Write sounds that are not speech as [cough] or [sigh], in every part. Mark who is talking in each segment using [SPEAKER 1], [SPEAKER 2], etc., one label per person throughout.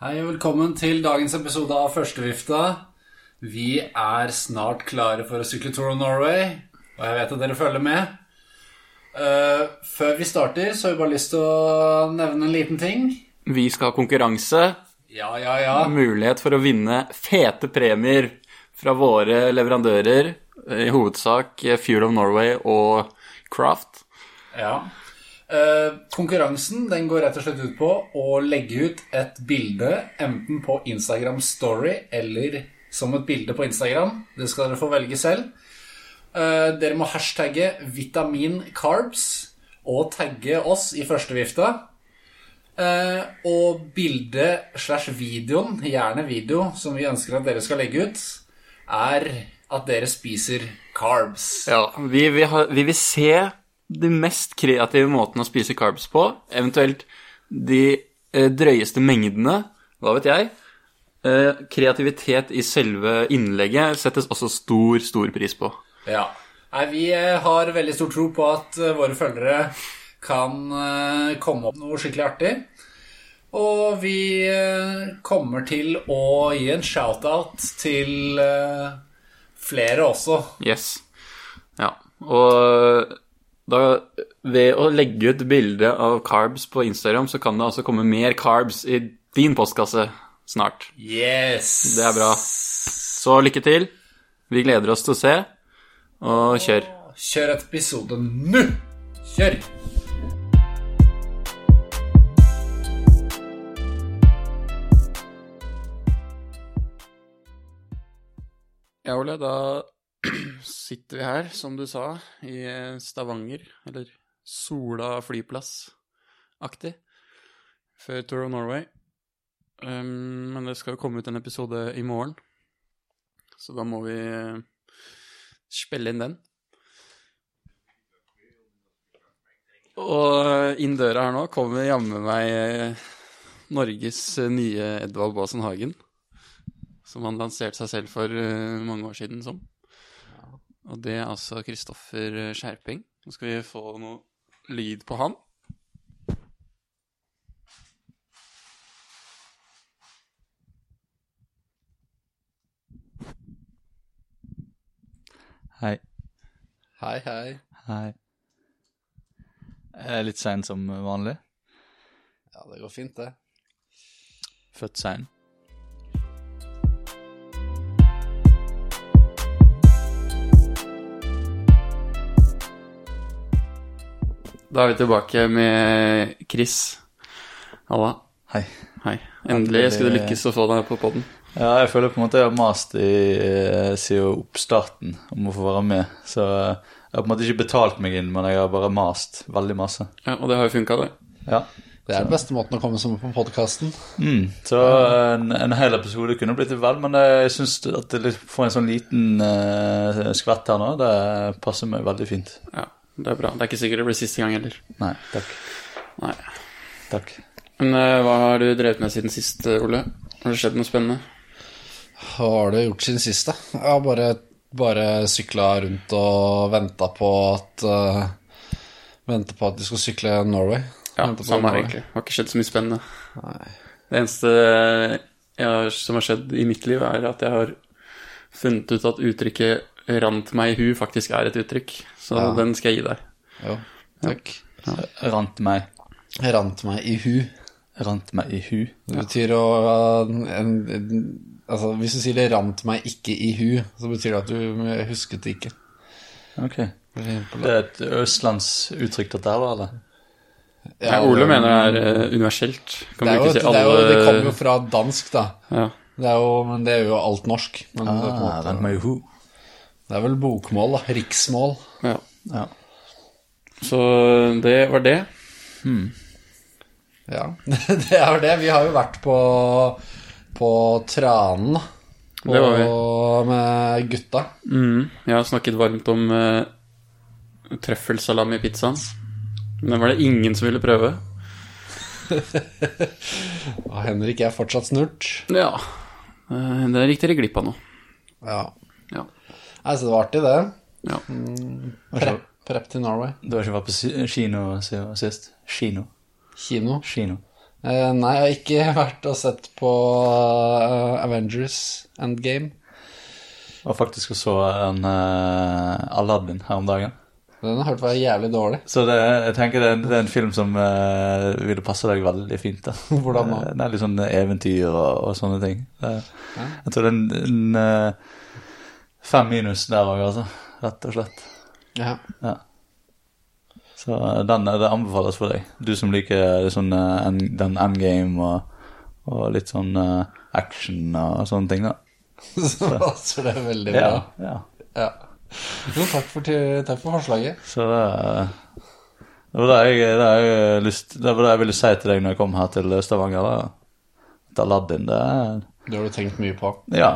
[SPEAKER 1] Hei og velkommen til dagens episode av Førstevifta. Vi er snart klare for å sykle Tour of Norway, og jeg vet at dere følger med. Eh, før vi starter, så har jeg bare lyst til å nevne en liten ting.
[SPEAKER 2] Vi skal ha konkurranse.
[SPEAKER 1] Ja, ja, ja.
[SPEAKER 2] Mulighet for å vinne fete premier fra våre leverandører. I hovedsak eh, Fuel of Norway og Craft.
[SPEAKER 1] ja. Eh, konkurransen den går rett og slett ut på å legge ut et bilde enten på Instagram Story eller som et bilde på Instagram. Det skal dere få velge selv. Eh, dere må hashtagge vitamincarps og tagge oss i førstevifta. Eh, og bildet slash videoen, gjerne video, som vi ønsker at dere skal legge ut, er at dere spiser carbs.
[SPEAKER 2] Ja, vi, vil ha, vi vil se de mest kreative måtene å spise carbs på. Eventuelt de eh, drøyeste mengdene. Hva vet jeg. Eh, kreativitet i selve innlegget settes også stor, stor pris på.
[SPEAKER 1] Ja. Nei, vi eh, har veldig stor tro på at eh, våre følgere kan eh, komme opp med noe skikkelig artig. Og vi eh, kommer til å gi en shout-out til eh, flere også.
[SPEAKER 2] Yes. Ja. Og eh, da, ved å legge ut bilde av carbs på Instagram, så kan det altså komme mer carbs i din postkasse snart.
[SPEAKER 1] Yes!
[SPEAKER 2] Det er bra. Så lykke til. Vi gleder oss til å se. Og kjør.
[SPEAKER 1] Kjør episoden nå! Kjør!
[SPEAKER 2] Ja, Ole, da [clears throat] sitter vi her, som du sa, i Stavanger, eller Sola flyplass-aktig, før Tour of Norway. Um, men det skal jo komme ut en episode i morgen, så da må vi eh, spille inn den. Og inn døra her nå kommer jammen meg eh, Norges eh, nye Edvald Baasen Hagen som han lanserte seg selv for eh, mange år siden som. Og det er altså Kristoffer eh, Skjerping. Nå skal vi få noe lyd på han.
[SPEAKER 3] Hei.
[SPEAKER 2] Hei, hei.
[SPEAKER 3] Hei. Jeg er litt sein som vanlig.
[SPEAKER 1] Ja, det går fint, det.
[SPEAKER 3] Født sein.
[SPEAKER 2] Da er vi tilbake med Chris. Halla.
[SPEAKER 3] Hei.
[SPEAKER 2] Hei. Endelig skulle det lykkes å få deg på poden.
[SPEAKER 3] Ja, jeg føler på en måte jeg har mast i, eh, siden oppstarten om å få være med. Så eh, jeg har på en måte ikke betalt meg inn, men jeg har bare mast veldig masse.
[SPEAKER 2] Ja, og det har jo funka, det.
[SPEAKER 3] Ja.
[SPEAKER 1] Det er den beste måten å komme som på podkasten.
[SPEAKER 3] Mm. Så eh, en, en hel episode kunne blitt litt vel, men eh, jeg syns at det litt- får en sånn liten eh, skvett her nå. Det passer meg veldig fint.
[SPEAKER 2] Ja, det er bra. Det er ikke sikkert det blir siste gang heller.
[SPEAKER 3] Nei, takk.
[SPEAKER 2] Nei.
[SPEAKER 3] Takk.
[SPEAKER 2] Men eh, hva har du drevet med siden sist, eh, Ole? Har det skjedd noe spennende?
[SPEAKER 1] Hva har du gjort siden sist, da? Jeg har bare, bare sykla rundt og venta på at uh, Venta på at de skal sykle Norway.
[SPEAKER 2] Ja,
[SPEAKER 1] Venta på
[SPEAKER 2] samme her,
[SPEAKER 1] Norway.
[SPEAKER 2] egentlig. Har ikke skjedd så mye spennende.
[SPEAKER 1] Nei.
[SPEAKER 2] Det eneste jeg har, som har skjedd i mitt liv, er at jeg har funnet ut at uttrykket 'rant meg i hu' faktisk er et uttrykk. Så
[SPEAKER 1] Ja.
[SPEAKER 2] den skal jeg gi deg.
[SPEAKER 1] Jo, takk.
[SPEAKER 3] Rant meg.
[SPEAKER 1] Jeg Rant meg i hu.
[SPEAKER 3] Rant meg i hu.
[SPEAKER 1] Det betyr å uh, en, en, Altså, hvis du sier det rant meg ikke i hu, så betyr det at du husket det ikke.
[SPEAKER 3] Ok.
[SPEAKER 1] For eksempel,
[SPEAKER 3] Det er et østlandsuttrykk dette her, da, eller?
[SPEAKER 1] ja,
[SPEAKER 2] Nei, Ole mener det er eh, universelt. Kan
[SPEAKER 1] det, er jo,
[SPEAKER 2] brukes i
[SPEAKER 1] det, er jo,
[SPEAKER 2] alle
[SPEAKER 1] det kommer jo fra dansk, da.
[SPEAKER 2] ja.
[SPEAKER 1] Det er jo, men det er jo alt norsk.
[SPEAKER 2] Ah,
[SPEAKER 1] Men det, er på en måte,
[SPEAKER 3] rent meg i Ah, hu.
[SPEAKER 1] det er vel bokmål, da. Riksmål.
[SPEAKER 2] ja.
[SPEAKER 3] Ja.
[SPEAKER 2] Så det var det.
[SPEAKER 4] [laughs]
[SPEAKER 1] Ja, det er jo det. Vi har jo vært på, på Tranen. da. Og
[SPEAKER 2] Det var vi.
[SPEAKER 1] med gutta.
[SPEAKER 2] Mm. Jeg har snakket varmt om eh, trøffelsalam i pizzaen. Men den var det ingen som ville prøve.
[SPEAKER 1] Og Henrik er fortsatt snurt.
[SPEAKER 2] Ja. Eh, Det gikk dere glipp av nå.
[SPEAKER 1] Ja.
[SPEAKER 2] Ja.
[SPEAKER 1] Nei, så det var artig, det.
[SPEAKER 2] ja.
[SPEAKER 1] Prep, prep til Norway.
[SPEAKER 3] Du har ikke vært på si- kino siden sist? Kino.
[SPEAKER 1] Kino.
[SPEAKER 3] Kino.
[SPEAKER 4] Eh, nei, jeg har ikke [laughs] vært og sett på eh, Avengers Endgame.
[SPEAKER 3] Og faktisk også en eh, Aladdin her om dagen.
[SPEAKER 4] Den har hørt være jævlig dårlig.
[SPEAKER 3] Så det, jeg tenker det er, en, det er en film som eh, ville passe deg veldig fint. da.
[SPEAKER 4] [laughs] Hvordan da?
[SPEAKER 3] Eh, Det er litt sånn eventyr og, og sånne ting. Det, jeg tror det er en, en eh, fem minus der òg, altså. Rett og slett.
[SPEAKER 4] Ja. [laughs]
[SPEAKER 3] Ja. Så eh, den det anbefales for deg. Du som liker litt sånn, eh, en- den endgame og, og litt sånn eh, action og sånne ting, da.
[SPEAKER 4] Så passer det veldig bra.
[SPEAKER 3] Ja. ja.
[SPEAKER 4] Ja. Jo, takk for, til- takk for forslaget.
[SPEAKER 3] Så det er- det var det jeg, det jeg, eh, lyst, det var det jeg ville si til deg når jeg kom her til Stavanger. Da. At Aladdin, det er
[SPEAKER 4] Det har du tenkt mye på.
[SPEAKER 3] Ja.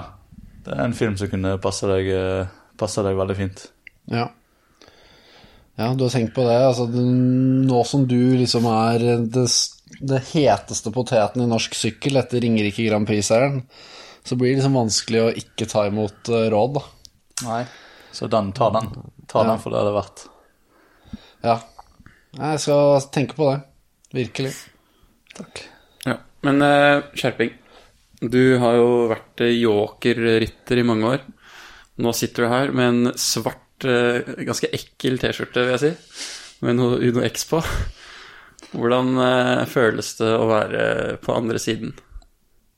[SPEAKER 3] Det er en film som kunne passe deg, eh, passe deg veldig fint.
[SPEAKER 4] Ja. Ja, du har tenkt på det. Altså, du- nå som du liksom er det, s- det heteste poteten i norsk sykkel etter Ringerike Grand Prix-seieren, så blir det liksom vanskelig å ikke ta imot eh, råd, da.
[SPEAKER 3] Nei. Så den, ta den. Ta den for det det er verdt.
[SPEAKER 4] Ja. Nei, Jeg skal tenke på det. Virkelig.
[SPEAKER 3] Takk.
[SPEAKER 2] Ja, men eh, skjerping. Du har jo vært eh, jokerrytter i mange år. Nå sitter du her med en svart, eh, ganske ekkel T-skjorte, vil jeg si, med noe Uno X på. Hvordan eh, føles det å være på andre siden?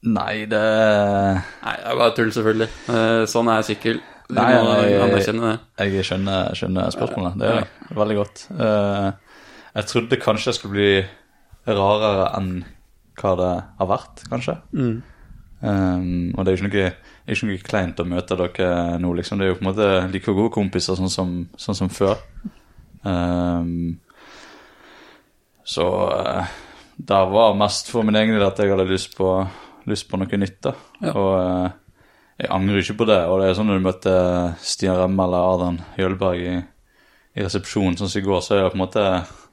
[SPEAKER 3] Nei, det
[SPEAKER 2] Nei, det er bare tull, selvfølgelig. Eh, sånn er sykkel. Vi
[SPEAKER 3] Nei,
[SPEAKER 2] må
[SPEAKER 3] nei,
[SPEAKER 2] anerkjenne det.
[SPEAKER 3] Jeg skjønner, skjønner spørsmålet. Det gjør jeg veldig godt. Eh, jeg trodde kanskje jeg skulle bli rarere enn hva det har vært, kanskje. Um, og det er jo ikke noe, det er ikke noe kleint å møte dere nå, liksom. Det er jo på en måte like gode kompiser sånn som, sånn som før. Um, så eh, det var mest for min egen del at jeg hadde lyst på, lyst på noe nytt, da. Og eh, jeg angrer ikke på det. Og det er sånn når du møtte Stian Remme eller Adrian Hjølberg i, i resepsjonen, sånn som i går, så er det på en måte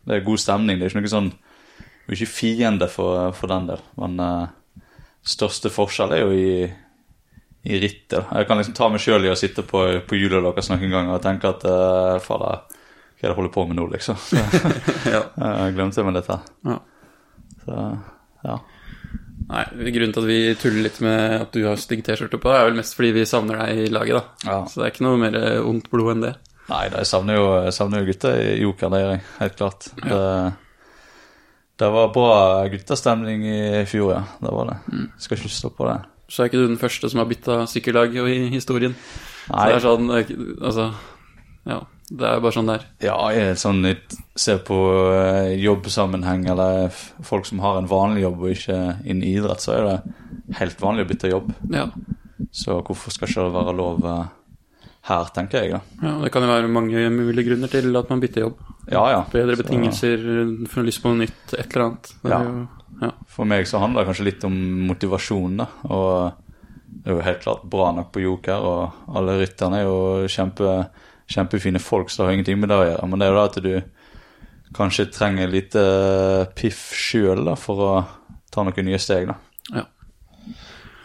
[SPEAKER 3] det er god stemning. Det er ikke noe sånn Du er ikke fiende for, for den del, men eh, største forskjell er jo i, i rittet. da. Jeg kan liksom ta meg sjøl i å sitte på, på hjulet deres noen ganger og tenke at uh, fader, hva er det jeg holder på med nå, liksom? [laughs] Så,
[SPEAKER 2] [laughs] Ja.
[SPEAKER 3] eh, glemte jeg meg litt her.
[SPEAKER 2] Ja.
[SPEAKER 3] Så, ja.
[SPEAKER 2] Nei, Grunnen til at vi tuller litt med at du har stygg T-skjorte på, er vel mest fordi vi savner deg i laget, da.
[SPEAKER 3] Ja.
[SPEAKER 2] Så det er ikke noe mer eh, ondt blod enn det.
[SPEAKER 3] Nei, da, jeg savner jo, jeg savner jo gutta i Joker, det gjør jeg. Helt klart. Det, det var bra guttastemning i fjor, ja. Det var det.
[SPEAKER 2] Mm.
[SPEAKER 3] Skal ikke stå på det.
[SPEAKER 2] Så er ikke du den første som har bytta sykkellag jo i historien. Så
[SPEAKER 3] Nei,
[SPEAKER 2] det er sånn eh, Altså, ja. Det er bare sånn det er.
[SPEAKER 3] ja, jeg er sånn litt Se på eh, jobbsammenheng eller f- folk som har en vanlig jobb og ikke innen idrett, så er det helt vanlig å bytte jobb.
[SPEAKER 2] Ja.
[SPEAKER 3] Så hvorfor skal ikke det være lov eh, her, tenker jeg, da.
[SPEAKER 2] ja. Det kan jo være mange mulige grunner til at man bytter jobb.
[SPEAKER 3] Ja, ja.
[SPEAKER 2] Bedre
[SPEAKER 3] Så-
[SPEAKER 2] betingelser, får lyst på noe nytt, et eller annet. Det er
[SPEAKER 3] Ja.
[SPEAKER 2] jo- ja.
[SPEAKER 3] For meg så handler det kanskje litt om motivasjon, da. Og det er jo helt klart bra nok på Joker, og alle rytterne er jo kjempe, kjempefine folk, så det har ingenting med det å gjøre. Men det er jo da at du kanskje trenger lite piff sjøl, da, for å ta noen nye steg, da.
[SPEAKER 2] ja.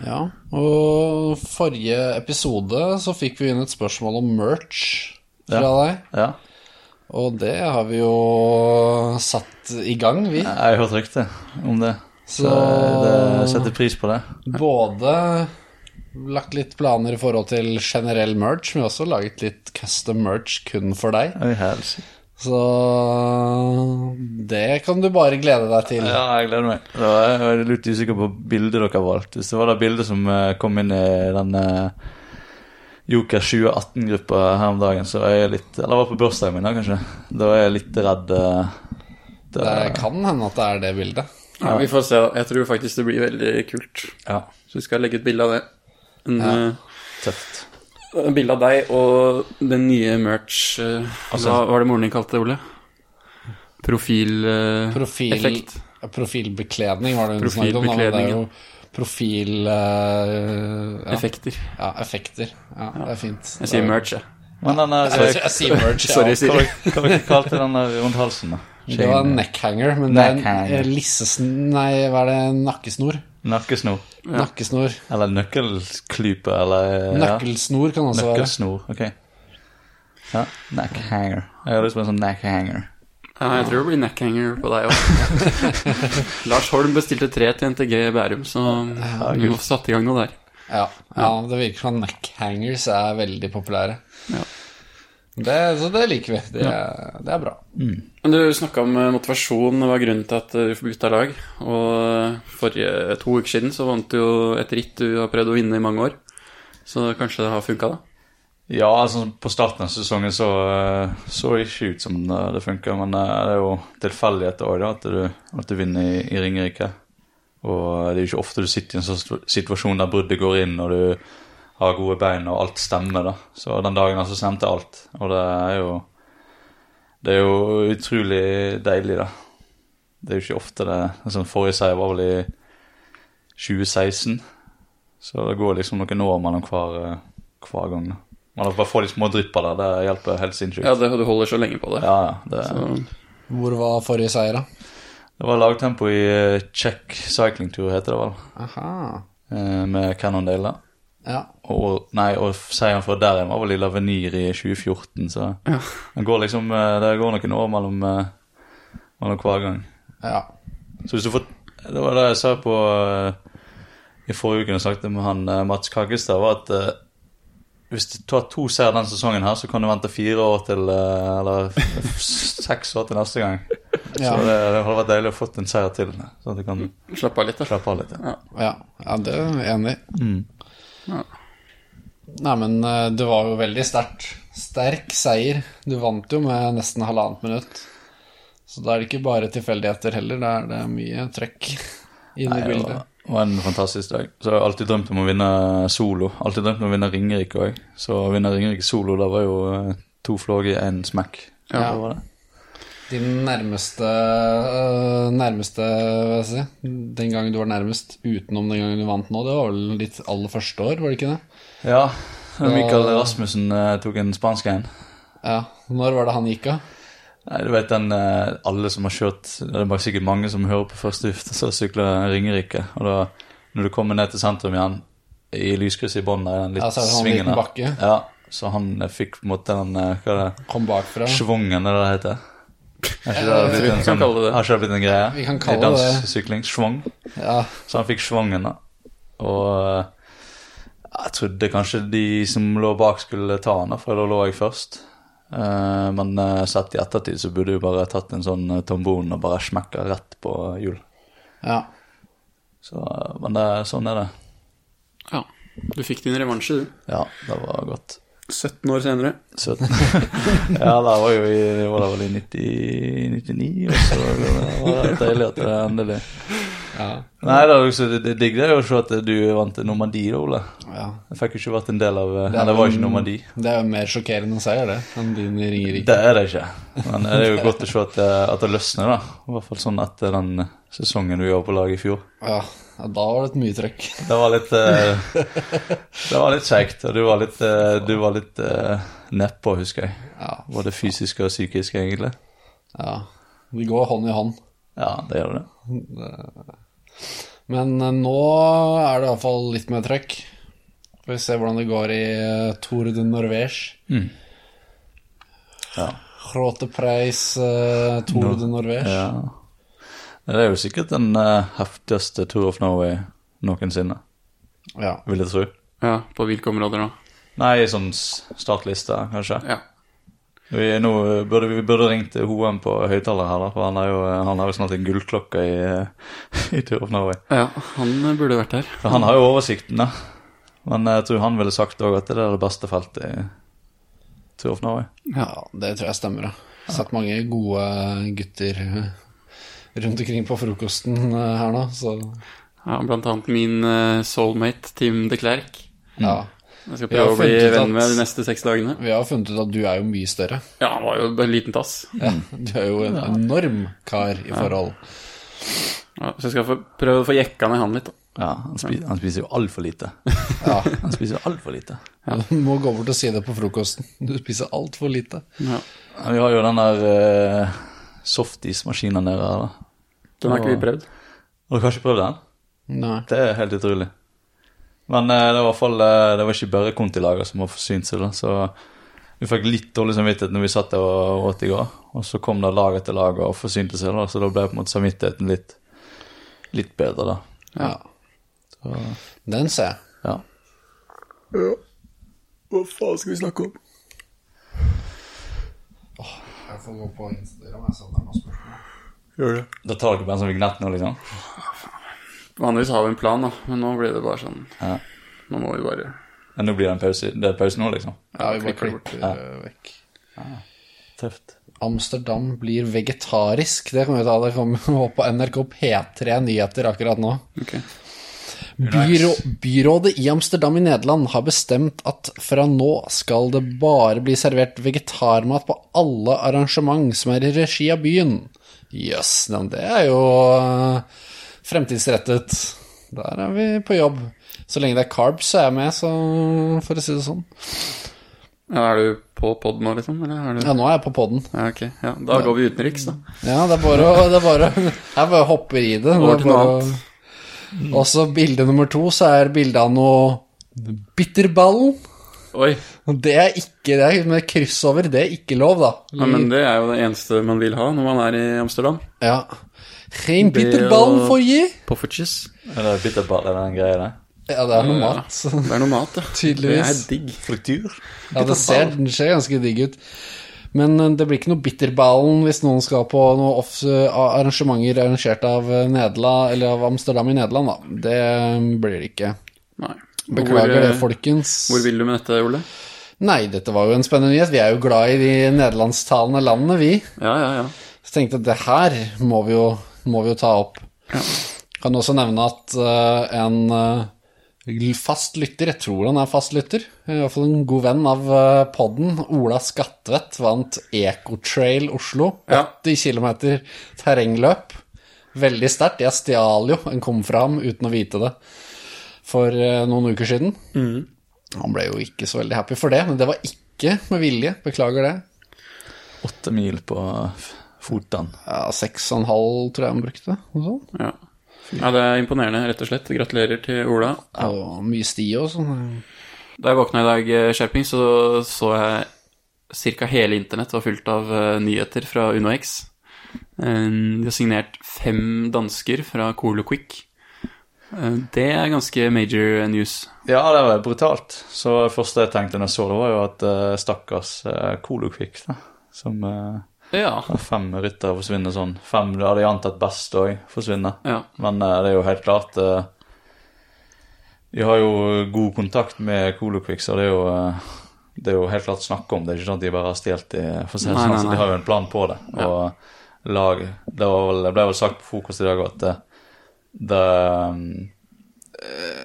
[SPEAKER 4] Ja, og forrige episode så fikk vi inn et spørsmål om merch fra
[SPEAKER 3] Ja.
[SPEAKER 4] deg.
[SPEAKER 3] Ja.
[SPEAKER 4] Og det har vi jo satt i gang, vi.
[SPEAKER 3] Jeg har hørt rykte om det, så
[SPEAKER 4] Så-
[SPEAKER 3] det jeg setter pris på det.
[SPEAKER 4] Både lagt litt planer i forhold til generell merch, men vi har også laget litt custom merch kun for deg.
[SPEAKER 3] Oi, helsike.
[SPEAKER 4] Så det kan du bare glede deg til.
[SPEAKER 3] Ja, jeg gleder meg. Da er jeg er litt usikker på bildet dere har valgt. Hvis det var det bildet som eh, kom inn i den eh, Joker 2018-gruppa her om dagen, så er jeg litt Eller var på bursdagen min, da, kanskje. Da er jeg litt redd. eh, det-
[SPEAKER 4] Det kan hende at det er det bildet.
[SPEAKER 2] ja. Vi får se, da. Jeg tror faktisk det blir veldig kult.
[SPEAKER 3] Ja,
[SPEAKER 2] Så vi skal legge ut bilde av det. En, eh,
[SPEAKER 3] tøft.
[SPEAKER 2] En bilde av deg og den nye merch eh, Hva var det moren din kalte det, Ole? eh, Profileffekt.
[SPEAKER 4] Profil, ja, profilbekledning var det hun snakket om. da, men Det er jo
[SPEAKER 2] Profilbekledningen.
[SPEAKER 4] profil... eh, ja.
[SPEAKER 2] Effekter.
[SPEAKER 4] ja, effekter. Ja, det er fint.
[SPEAKER 2] Jeg sier merch, jeg.
[SPEAKER 3] Men den der
[SPEAKER 4] Jeg, jeg sier merch, ja.
[SPEAKER 2] Sorry,
[SPEAKER 3] Hva
[SPEAKER 2] Siri.
[SPEAKER 3] hva dere kalte dere den der rundt halsen, da?
[SPEAKER 4] Det var en
[SPEAKER 3] Chain-
[SPEAKER 4] neckhanger, men det er en
[SPEAKER 3] Neckhanger.
[SPEAKER 4] eh, lissesn... Nei, hva er det? Nakkesnor?
[SPEAKER 3] Nakkesnor?
[SPEAKER 4] Nakkesnor.
[SPEAKER 3] Eller nøkkelklype, eller eh, ja.
[SPEAKER 4] Nøkkelsnor kan også være.
[SPEAKER 3] Nøkkelsnor, ok. Ja, neck hanger. Jeg har lyst på en sånn neck hanger.
[SPEAKER 2] Ja, jeg tror det blir neckhanger på deg òg. Lars Holm bestilte tre til NTG Bærum, så vi må få satt i gang noe der.
[SPEAKER 4] Ja, ja det virker som neckhangers er veldig populære.
[SPEAKER 2] Ja.
[SPEAKER 4] Det, så det liker vi. Det, er- det er bra.
[SPEAKER 2] Men Du snakka om eh, motivasjon og hva er grunnen til at eh, vi bytta lag. Og eh, forrige to uker siden så vant du jo et ritt du har prøvd å vinne i mange år. Så kanskje det har funka, da.
[SPEAKER 3] Ja, altså på starten av sesongen så eh, så det ikke ut som det, det funka, men eh, det er jo tilfeldigheter òg, da, at du, at du vinner i, i Ringerike. Og det er jo ikke ofte du sitter i en sånn stu- situasjon der bruddet går inn, og du har gode bein, og alt stemmer, da. Så den dagen her så stemte alt, og det er jo Det er jo utrolig deilig, da. Det er jo ikke ofte det altså, Forrige seier var vel i 2016, så det går liksom noen år mellom hver, eh, hver gang, da. Man bare får de små drypper der, det hjelper helt sinnssykt.
[SPEAKER 2] Ja,
[SPEAKER 3] Ja,
[SPEAKER 2] det, du holder så lenge på det.
[SPEAKER 3] ja, det,
[SPEAKER 2] Så,
[SPEAKER 4] Hvor var forrige seier, da?
[SPEAKER 3] det var lagtempo i eh, Czech Cycling Tour, heter det vel,
[SPEAKER 4] Aha.
[SPEAKER 3] eh, med Cannondale. da.
[SPEAKER 4] Ja.
[SPEAKER 3] Og, nei, og seieren fra der igjen var vel i Lavenir i 2014, så
[SPEAKER 2] Ja.
[SPEAKER 3] det går liksom eh, Det går noen år mellom, eh, mellom hver gang.
[SPEAKER 4] ja.
[SPEAKER 3] Så hvis du får Det var det jeg sa på eh, i forrige uke da jeg snakket med han eh, Mats Kaggestad, var at eh, hvis du tar to seier den sesongen her, så kan du vente fire år til eh, Eller f- f- seks år til neste gang.
[SPEAKER 4] Ja.
[SPEAKER 3] Så det, det hadde vært deilig å fått en seier til, sånn at du kan
[SPEAKER 2] slapp av litt, da.
[SPEAKER 3] slappe av litt. Ja.
[SPEAKER 4] Ja, ja det er jeg enig i.
[SPEAKER 2] Ja.
[SPEAKER 4] Nei, men eh, det var jo veldig sterkt. Sterk seier. Du vant jo med nesten halvannet minutt. Så da er det ikke bare tilfeldigheter heller, det er, det er mye trøkk inne
[SPEAKER 3] Nei,
[SPEAKER 4] i
[SPEAKER 3] det var-
[SPEAKER 4] bildet.
[SPEAKER 3] det var en fantastisk dag. Så jeg har alltid drømt om å vinne solo. Alltid drømt om å vinne Ringerike òg. Så å vinne Ringerike solo, det var jo eh, to flåger i én smekk.
[SPEAKER 2] Ja.
[SPEAKER 3] Det var det.
[SPEAKER 4] Din nærmeste øh, Nærmeste, hva skal jeg si Den gangen du var nærmest utenom den gangen du vant nå, det var vel ditt aller første år, var det ikke det?
[SPEAKER 3] Ja, Michael Rasmussen eh, tok en spansk en.
[SPEAKER 4] Ja. Når var det han gikk av?
[SPEAKER 3] Nei, du vet den eh, Alle som har kjørt Det er bare sikkert mange som hører på første gift, [laughs] så sykler Ringerike. Og da, når du kommer ned til sentrum igjen, i lyskrysset i bånn der, den litt
[SPEAKER 4] Ja, så er det sånn
[SPEAKER 3] svingen
[SPEAKER 4] liten
[SPEAKER 3] der.
[SPEAKER 4] bakke.
[SPEAKER 3] Ja, så han eh, fikk på en måte den eh, Hva er det?
[SPEAKER 4] Kom bakfra?
[SPEAKER 3] Svungen, er det det heter? Er ikke det blitt en,
[SPEAKER 2] vi kan
[SPEAKER 3] sånn,
[SPEAKER 2] kalle det det.
[SPEAKER 3] har ikke det blitt en greie?
[SPEAKER 4] Vi kan
[SPEAKER 3] I
[SPEAKER 4] kalle det det.
[SPEAKER 3] danssykling. Svong.
[SPEAKER 4] Ja.
[SPEAKER 3] Så han fikk svungen, da. Og eh, jeg trodde kanskje de som lå bak, skulle ta han, da, for da lå jeg først. Eh, men eh, sett i ettertid så burde jeg jo bare tatt en sånn eh, tombon og bare smekka rett på hjul.
[SPEAKER 4] ja.
[SPEAKER 3] Så, eh, men det, sånn er det.
[SPEAKER 2] Ja. Du fikk din revansje, du.
[SPEAKER 3] Ja, det var godt.
[SPEAKER 2] 17 år senere.
[SPEAKER 3] Søt. [laughs] ja, det var jo i, det var vel i 90, 99, og så var det deilig at det endelig
[SPEAKER 4] ja.
[SPEAKER 3] Nei, det, er også, det, det digg det er jo å se at du vant til Normandie, da, Ole.
[SPEAKER 4] ja.
[SPEAKER 3] Jeg fikk jo ikke vært en del av Det, det var jo ikke Normandie.
[SPEAKER 4] Det er jo mer sjokkerende seier, det, enn din i Ringerike.
[SPEAKER 3] Det er det ikke. Men det er jo godt å se at det, at det løsner, da. I hvert fall sånn etter den sesongen vi var på lag i fjor.
[SPEAKER 4] Ja, ja, da var det mye trøkk.
[SPEAKER 3] Det var litt eh, Det var litt kjekt, og du var litt, eh, du var litt eh, nedpå, husker jeg.
[SPEAKER 4] Ja.
[SPEAKER 3] Både fysisk og psykisk, egentlig.
[SPEAKER 4] ja. De går hånd i hånd.
[SPEAKER 3] Ja, det gjør du det.
[SPEAKER 4] Men eh, nå er det iallfall litt mer trøkk. Får vi se hvordan det går i eh, Tour de Norvège.
[SPEAKER 3] Mm. Ja.
[SPEAKER 4] Grote Preis eh, Tour de Norvège.
[SPEAKER 3] ja. Det er jo sikkert den eh, heftigste Tour of Norway noensinne,
[SPEAKER 4] Ja.
[SPEAKER 3] vil jeg tro.
[SPEAKER 2] Ja, på hvilke områder da?
[SPEAKER 3] Nei, sånn s- startliste, kanskje.
[SPEAKER 2] Ja.
[SPEAKER 3] Vi, er nå eh, burde, vi burde ringt Hoem på høyttaler her, da, for han er jo, eh, han har jo snart en gullklokke i, [laughs] i Tour of Norway.
[SPEAKER 2] ja. Han eh, burde vært her.
[SPEAKER 3] For han har jo oversikten, da. Men jeg tror han ville sagt òg at det er det beste feltet i Tour of Norway.
[SPEAKER 4] ja, det tror jeg stemmer. Ja. Sett mange gode gutter eh, rundt omkring på frokosten eh, her nå, så
[SPEAKER 2] Ja, blant annet min eh, soulmate, Tim de Klerk.
[SPEAKER 3] Mm.
[SPEAKER 4] ja.
[SPEAKER 2] Jeg skal
[SPEAKER 4] Vi har
[SPEAKER 2] prøve å bli
[SPEAKER 4] funnet ut
[SPEAKER 2] venn
[SPEAKER 4] at-
[SPEAKER 2] med de neste seks dagene.
[SPEAKER 4] Vi har jo funnet ut at du er jo mye større.
[SPEAKER 2] Ja, han var jo bare en liten tass.
[SPEAKER 4] Ja,
[SPEAKER 3] Mm.
[SPEAKER 4] [laughs] du er jo en enorm kar i
[SPEAKER 3] [laughs]
[SPEAKER 4] forhold.
[SPEAKER 2] Ja, så jeg skal få, prøve å få jekka ned han litt, da.
[SPEAKER 3] Ja, han, spi, han spiser jo altfor lite.
[SPEAKER 4] Ja.
[SPEAKER 3] Han spiser altfor lite.
[SPEAKER 4] [laughs] Du må gå bort og si det på frokosten. Du spiser altfor lite.
[SPEAKER 2] Ja.
[SPEAKER 3] Ja, Vi har jo den der eh, softismaskinen nede her, da.
[SPEAKER 2] Den har ikke vi prøvd.
[SPEAKER 3] Har du kanskje prøvd den?
[SPEAKER 4] Nei.
[SPEAKER 3] Det er helt utrolig. Men eh, det var i hvert fall eh, Det var ikke bare Konti-laget som har forsynt seg, da, så vi fikk litt dårlig samvittighet når vi satt der og åt i går. Og så kom det lag etter lag og forsynte seg, da, så da ble på en måte samvittigheten litt, litt bedre, da.
[SPEAKER 4] Ja. Den ser jeg.
[SPEAKER 3] Ja.
[SPEAKER 2] Hva faen skal vi snakke om?
[SPEAKER 4] Jeg får gå på Instagram. Jeg sender noen spørsmål.
[SPEAKER 2] Gjør det.
[SPEAKER 3] Da tar dere bare en sånn vignett nå, liksom?
[SPEAKER 2] Vanligvis har vi en plan, da, men nå ble det bare sånn.
[SPEAKER 3] Ja.
[SPEAKER 2] Nå må vi bare
[SPEAKER 3] Ja, nå blir det en pause. Det er pause nå, liksom?
[SPEAKER 4] Ja, vi bare
[SPEAKER 2] klikker bort.
[SPEAKER 4] klipper eh, vekk.
[SPEAKER 3] Tøft.
[SPEAKER 4] Amsterdam blir vegetarisk. Det kommer vi til å ta. Det [laughs] kommer opp på NRK P3 Nyheter akkurat nå.
[SPEAKER 2] Ok.
[SPEAKER 4] Byrå, byrådet i Amsterdam i Nederland har bestemt at fra nå skal det bare bli servert vegetarmat på alle arrangement som er i regi av byen. Jøss, yes, det er jo eh, fremtidsrettet. Der er vi på jobb. Så lenge det er carbs, så er jeg med, så for å si det sånn.
[SPEAKER 2] Ja, er du på pod nå, liksom? Eller er du...
[SPEAKER 4] Ja, nå er jeg på poden.
[SPEAKER 2] Ja, ok. Ja, da går vi utenriks, da.
[SPEAKER 4] Ja, det er bare å det er bare, å- Jeg bare hopper i det.
[SPEAKER 2] Over til
[SPEAKER 4] Det
[SPEAKER 2] noe
[SPEAKER 4] er bare å- Og så bilde nummer to, så er bildet av noe bitterballen.
[SPEAKER 2] Oi.
[SPEAKER 4] Og Det er ikke det, er- med kryss over, det er ikke lov, da.
[SPEAKER 2] Ja, men det er jo det eneste man vil ha når man er i Amsterdam.
[SPEAKER 4] Ja. Geen
[SPEAKER 2] Det
[SPEAKER 4] bitterballen
[SPEAKER 2] og-
[SPEAKER 4] for je.
[SPEAKER 2] Poffertjes.
[SPEAKER 3] Er det bitterball, er det den greia der?
[SPEAKER 4] Ja, det er noe
[SPEAKER 2] Ja.
[SPEAKER 4] mat. [laughs]
[SPEAKER 2] Det er noe mat, ja. Det
[SPEAKER 4] Tydeligvis.
[SPEAKER 2] er digg.
[SPEAKER 3] Fruktur?
[SPEAKER 4] Ja, det ser, den ser ganske digg ut. Men eh, det blir ikke noe bitterballen hvis noen skal på noen off eh, arrangementer arrangert av eh, Nederland, eller av Amsterdam i Nederland, da. Det eh, blir det ikke.
[SPEAKER 2] Nei.
[SPEAKER 4] Beklager
[SPEAKER 2] hvor, eh,
[SPEAKER 4] det, folkens.
[SPEAKER 2] Hvor vil du med dette, Ole?
[SPEAKER 4] Nei, dette var jo en spennende nyhet. Vi er jo glad i de nederlandsktalende landene, vi.
[SPEAKER 2] Ja, ja, ja.
[SPEAKER 4] Så tenkte jeg at det her må vi jo, må vi jo ta opp. Kan også nevne at eh, en eh, fast lytter, jeg tror han er fast lytter, i hvert fall en god venn av uh, podden, Ola Skattvedt, vant Ecotrail Oslo.
[SPEAKER 2] Ja.
[SPEAKER 4] 80 km terrengløp. Veldig sterkt. Jeg stjal jo en kom fra ham uten å vite det for eh, noen uker siden.
[SPEAKER 2] Mm.
[SPEAKER 4] Han ble jo ikke så veldig happy for det, men det var ikke med vilje. Beklager det.
[SPEAKER 3] Åtte mil på f- foten.
[SPEAKER 4] Ja, Seks og en halv tror jeg han brukte. Noe sånt.
[SPEAKER 2] ja. Ja, Det er imponerende, rett og slett. Gratulerer til Ola.
[SPEAKER 4] Ja, og mye sti og sånn.
[SPEAKER 2] Da jeg våkna i dag, eh, skjerping, så så jeg ca. hele internett var fylt av eh, nyheter fra UnoX. Eh, De har signert fem dansker fra Colo Quick. Eh, Det er ganske major eh, news.
[SPEAKER 3] Ja, det var brutalt. Så det første jeg tenkte når jeg så det, var jo at eh, stakkars uh, Kolokvik, da, som
[SPEAKER 2] Ja.
[SPEAKER 3] eh, Ja, Fem ryttere forsvinner sånn. Fem du hadde jeg antatt best òg forsvinner.
[SPEAKER 2] ja.
[SPEAKER 3] Men eh, det er jo helt klart eh, Vi har jo god kontakt med Kolokvik, så det er jo eh, det er jo helt klart snakk om. Det er ikke sånn at de bare har stjålet de for å si det
[SPEAKER 2] Nei,
[SPEAKER 3] sånn,
[SPEAKER 2] nei,
[SPEAKER 3] så
[SPEAKER 2] nei.
[SPEAKER 3] de har jo en plan på det. Og lag Det, var vel, det ble vel sagt på frokost i dag at eh, det eh,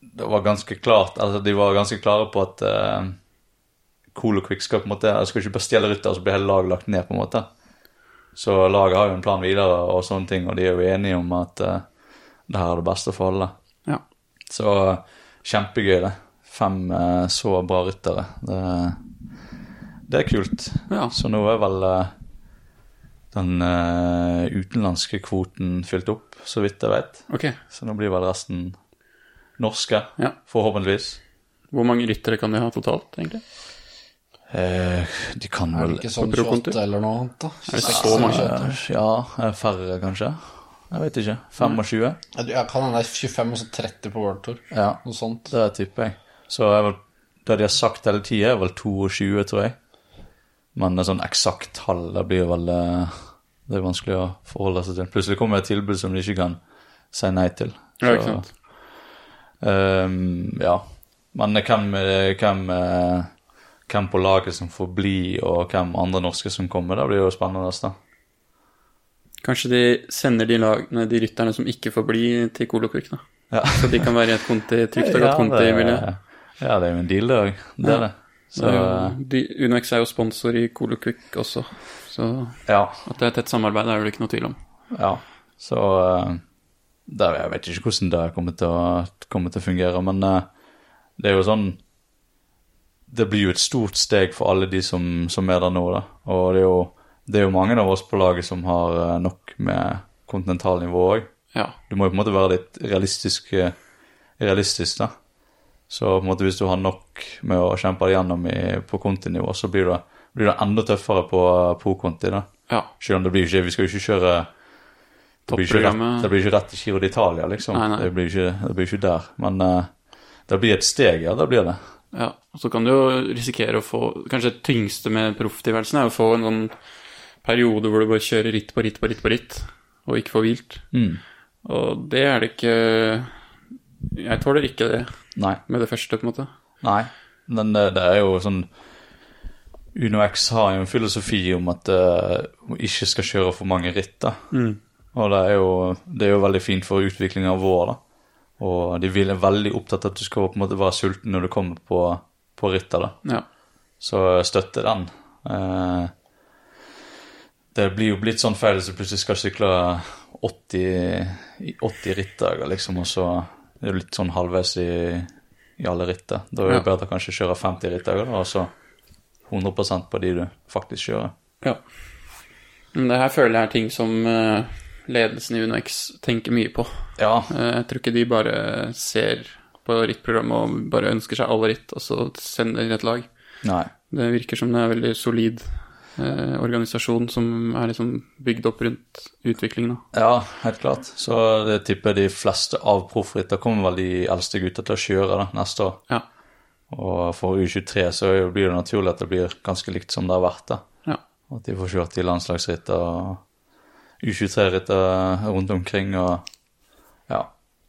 [SPEAKER 3] Det var ganske klart Altså, de var ganske klare på at eh, Kolokvik skal på en måte Jeg skal ikke bare stjele rytter, og så blir hele laget lagt ned, på en måte. Så laget har jo en plan videre og sånne ting, og de er jo enige om at eh, det her er det beste for alle.
[SPEAKER 2] ja.
[SPEAKER 3] Så eh, kjempegøy, det. Fem eh, så bra ryttere. Det, det er kult.
[SPEAKER 2] Ja.
[SPEAKER 3] Så nå er vel eh, den eh, utenlandske kvoten fylt opp, så vidt jeg vet.
[SPEAKER 2] Ok.
[SPEAKER 3] Så nå blir vel resten norske,
[SPEAKER 2] Ja.
[SPEAKER 3] forhåpentligvis.
[SPEAKER 2] Hvor mange ryttere kan de ha totalt, egentlig?
[SPEAKER 3] Eh, de kan
[SPEAKER 4] Er
[SPEAKER 3] vel
[SPEAKER 4] det ikke sånn
[SPEAKER 2] på prokontur?
[SPEAKER 4] 28 eller noe annet, da?
[SPEAKER 2] det
[SPEAKER 4] 26,
[SPEAKER 2] så mange?
[SPEAKER 4] 28?
[SPEAKER 3] eh, Ja, eh, færre kanskje. Jeg vet ikke. 25?
[SPEAKER 4] Ja, du- Jeg kan hende det er 25 og så 30 på World Tour.
[SPEAKER 3] Ja,
[SPEAKER 4] Noe sånt.
[SPEAKER 3] det tipper jeg. Så er vel, det de har sagt hele tida, er vel 22, tror jeg. Men et sånn eksakt tall det blir vel eh, Det er vanskelig å forholde seg til. Plutselig kommer et tilbud som de ikke kan si nei til.
[SPEAKER 2] Ja, ikke
[SPEAKER 3] Så-
[SPEAKER 2] sant.
[SPEAKER 3] Ehm, ja. Men hvem, eh, hvem, eh, hvem på laget som får bli, og hvem andre norske som kommer, det blir jo spennende. Da.
[SPEAKER 2] Kanskje de sender de, lagene, de rytterne som ikke får bli, til Colo Quick, da.
[SPEAKER 3] Ja.
[SPEAKER 2] Så de kan være i et konti, trygt og godt konti i miljøet.
[SPEAKER 3] ja, det er jo en deal, det òg. Det er
[SPEAKER 2] Ja.
[SPEAKER 3] det. Så
[SPEAKER 2] Det er jo- de- Unex er jo sponsor i Colo Quick også, så
[SPEAKER 3] ja.
[SPEAKER 2] at det er et tett samarbeid er det vel ikke noe tvil om.
[SPEAKER 3] ja. Så eh, det, Jeg vet ikke hvordan det kommer til å, kommer til å fungere, men eh, det er jo sånn Det blir jo et stort steg for alle de som, som er der nå, da. Og det er, jo, det er jo mange av oss på laget som har eh, nok med kontinentalnivå òg.
[SPEAKER 2] Ja.
[SPEAKER 3] Du må jo på en måte være litt realistisk, eh, realistisk da. Så på en måte hvis du har nok med å kjempe deg gjennom i, på kontinivå, så blir det, blir det enda tøffere på, på konti. da.
[SPEAKER 2] Ja.
[SPEAKER 3] Selv om det blir ikke, vi skal jo ikke kjøre det blir ikke, rett,
[SPEAKER 2] Topprogrammet
[SPEAKER 3] det blir ikke rett til Giro d'Italia, liksom.
[SPEAKER 2] Nei, nei.
[SPEAKER 3] Det, blir ikke, det blir ikke der. Men eh, det blir et steg, ja. Det blir det.
[SPEAKER 2] Ja, og så kan du jo risikere å få Kanskje det tyngste med profftilværelsen er å få en sånn periode hvor du bare kjører ritt på ritt på ritt på ritt, og ikke får hvilt.
[SPEAKER 3] Mm.
[SPEAKER 2] Og det er det ikke Jeg tåler ikke det
[SPEAKER 3] Nei.
[SPEAKER 2] med det første, på en måte.
[SPEAKER 3] Nei, men det, det er jo sånn Uno X har jo en filosofi om at eh, hun ikke skal kjøre for mange ritt. da.
[SPEAKER 2] Mm.
[SPEAKER 3] Og det er, jo, det er jo veldig fint for utviklingen av vår. da. Og de vil- er veldig opptatt av at du skal på en måte være sulten når du kommer på, på rittet. da.
[SPEAKER 2] Ja.
[SPEAKER 3] Så støtte den. Eh, det blir jo blitt sånn feil hvis du plutselig skal sykle 80, i 80 rittdager, liksom, og så er du litt sånn halvveis i, i alle ritter. Da er det
[SPEAKER 2] Ja.
[SPEAKER 3] bedre å kanskje kjøre 50 rittdager, da, og så 100 på de du faktisk kjører.
[SPEAKER 2] ja. Men det her føler jeg er ting som eh, ledelsen i UnoX tenker mye på.
[SPEAKER 3] Ja,
[SPEAKER 2] Eh, Jeg tror ikke de bare ser på rittprogrammet og bare ønsker seg alle ritt, og så sender de et lag.
[SPEAKER 3] nei.
[SPEAKER 2] Det virker som det er en veldig solid eh, organisasjon som er liksom bygd opp rundt utviklingen. Da.
[SPEAKER 3] Ja, helt klart. Så det tipper jeg de fleste av proffritter kommer vel de eldste gutta til å kjøre da, neste år.
[SPEAKER 2] Ja.
[SPEAKER 3] Og for U23 så er jo- blir det naturlig at det blir ganske likt som det har vært. da.
[SPEAKER 2] Ja.
[SPEAKER 3] Og At de får kjørt i landslagsritter og U23-ritter rundt omkring. og ja,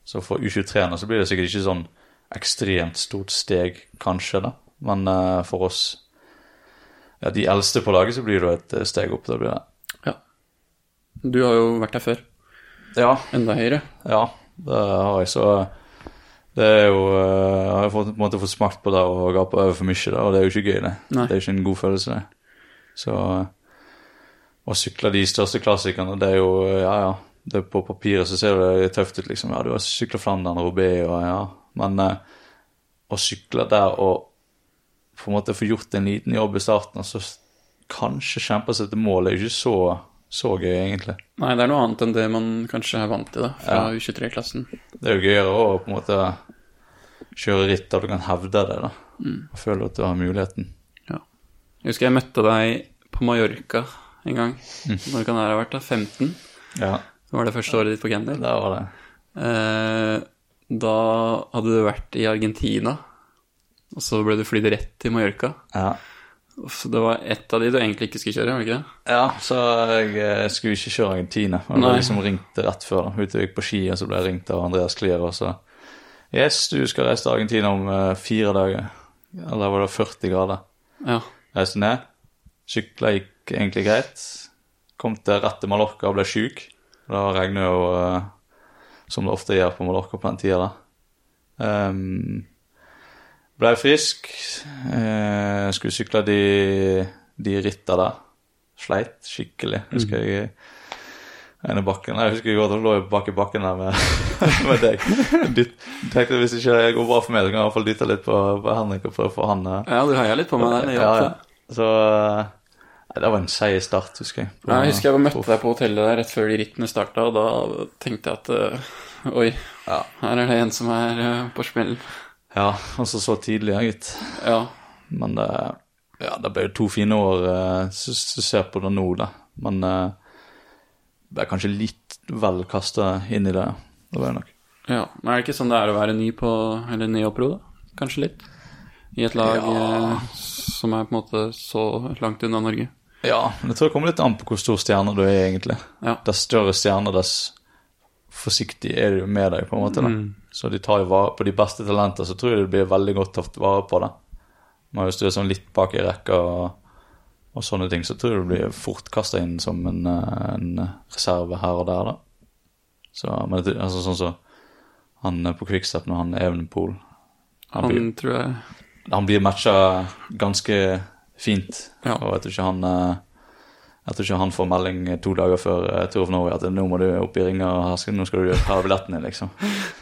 [SPEAKER 3] Så for U23-erne så blir det sikkert ikke sånn ekstremt stort steg, kanskje, da. Men eh, for oss, ja, de eldste på laget, så blir det jo et eh, steg opp. da blir det.
[SPEAKER 2] ja. Du har jo vært her før.
[SPEAKER 3] Ja,
[SPEAKER 2] Enda høyere.
[SPEAKER 3] ja, det har jeg. Så det er jo eh, Jeg har fått, på en måte fått smakt på det og gape over for mye, da, og det er jo ikke gøy, det.
[SPEAKER 2] Nei.
[SPEAKER 3] Det er ikke en god følelse, det. Så eh, å sykle de største klassikerne, det er jo eh, Ja, ja. Det er på papiret så ser det tøft ut, liksom. Ja, du har sykla Flandern, Robé og ja. Men eh, å sykle der og på en måte få gjort en liten jobb i starten, og så kanskje kjempe seg til mål, det er jo ikke så, så gøy, egentlig.
[SPEAKER 2] Nei, det er noe annet enn det man kanskje er vant til da, fra U23-klassen.
[SPEAKER 3] Det er jo gøyere å på en måte kjøre ritt der du kan hevde det, da. Og føle at du har muligheten.
[SPEAKER 2] Ja. Jeg husker jeg møtte deg på Mallorca en gang. Når kan det her ha vært? da? 15?
[SPEAKER 3] Ja,
[SPEAKER 2] Det var det første året ditt på Gander.
[SPEAKER 3] der var det.
[SPEAKER 2] Eh, da hadde du vært i Argentina, og så ble du flydd rett til Mallorca.
[SPEAKER 3] Ja.
[SPEAKER 2] Uff, det var ett av de du egentlig ikke skulle kjøre, var det ikke det?
[SPEAKER 3] ja, så jeg eh, skulle ikke kjøre Argentina. Og det
[SPEAKER 2] Nei.
[SPEAKER 3] var liksom ringt rett før. da. Ute og gikk på ski, og så ble jeg ringt av Andreas Klier, og så Yes, du skal reise til Argentina om eh, fire dager. Eller var det 40 grader?
[SPEAKER 2] Ja.
[SPEAKER 3] Reiste ned. Sykla gikk egentlig greit. Kom til rett til Mallorca og ble sjuk. Da regner jo eh, som det ofte gjør på Mallorca på den tida der. Ehm, ble frisk. Eh, skulle sykle de, de ritta der. Sleit skikkelig, husker jeg. Ene bakken. Jeg husker jeg godt at lå jeg bak i bakken der med, [laughs] med deg. Dytt, tenkte hvis ikke det går bra for meg, så kan jeg i hvert fall dytte litt på, på Henrik og prøve å få han eh,
[SPEAKER 2] ja, du heia litt på meg der. det
[SPEAKER 3] ja,
[SPEAKER 2] hjalp,
[SPEAKER 3] ja.
[SPEAKER 2] det.
[SPEAKER 3] Så eh, nei, det var en seig start, husker jeg. På-
[SPEAKER 2] Ja, Jeg husker jeg møtte deg på hotellet der rett før de rittene starta, og da tenkte jeg at eh, oi,
[SPEAKER 3] Ja.
[SPEAKER 2] her er det en som er eh, på smellen.
[SPEAKER 3] Ja, altså så tidlig, ja, gitt.
[SPEAKER 2] Ja.
[SPEAKER 3] Men det, ja, det ble jo to fine år, eh, så så ser jeg på det nå, da. Men eh, det er kanskje litt vel kasta inn i det. ja. Det var jeg nok.
[SPEAKER 2] ja. Men er det ikke sånn det er å være ny på Eller ny oppro, da? Kanskje litt? I et lag
[SPEAKER 3] Ja.
[SPEAKER 2] eh, som er på en måte så langt unna Norge.
[SPEAKER 3] Ja, men jeg tror det kommer litt an på hvor stor stjerne du er, egentlig.
[SPEAKER 2] Ja.
[SPEAKER 3] Dess større stjerne, dess forsiktig er du med deg, på en måte. Da. Så de tar jo vare på de beste talenter, så tror jeg det blir veldig godt tatt vare på. Da. Men hvis du er sånn litt bak i rekka og, og sånne ting, så tror jeg du blir fort kasta inn som en, eh, en reserve her og der, da. Så, men det, altså, sånn som han er på Quickstep når han er Evenpool. Han,
[SPEAKER 2] Han
[SPEAKER 3] blir-
[SPEAKER 2] tror jeg
[SPEAKER 3] han blir matcha ganske fint.
[SPEAKER 2] Ja.
[SPEAKER 3] Og jeg tror ikke han eh, jeg tror ikke han får melding to dager før eh, Tour of Norway at nå må du opp i ringa, og her skal- nå skal du ha billetten din, liksom.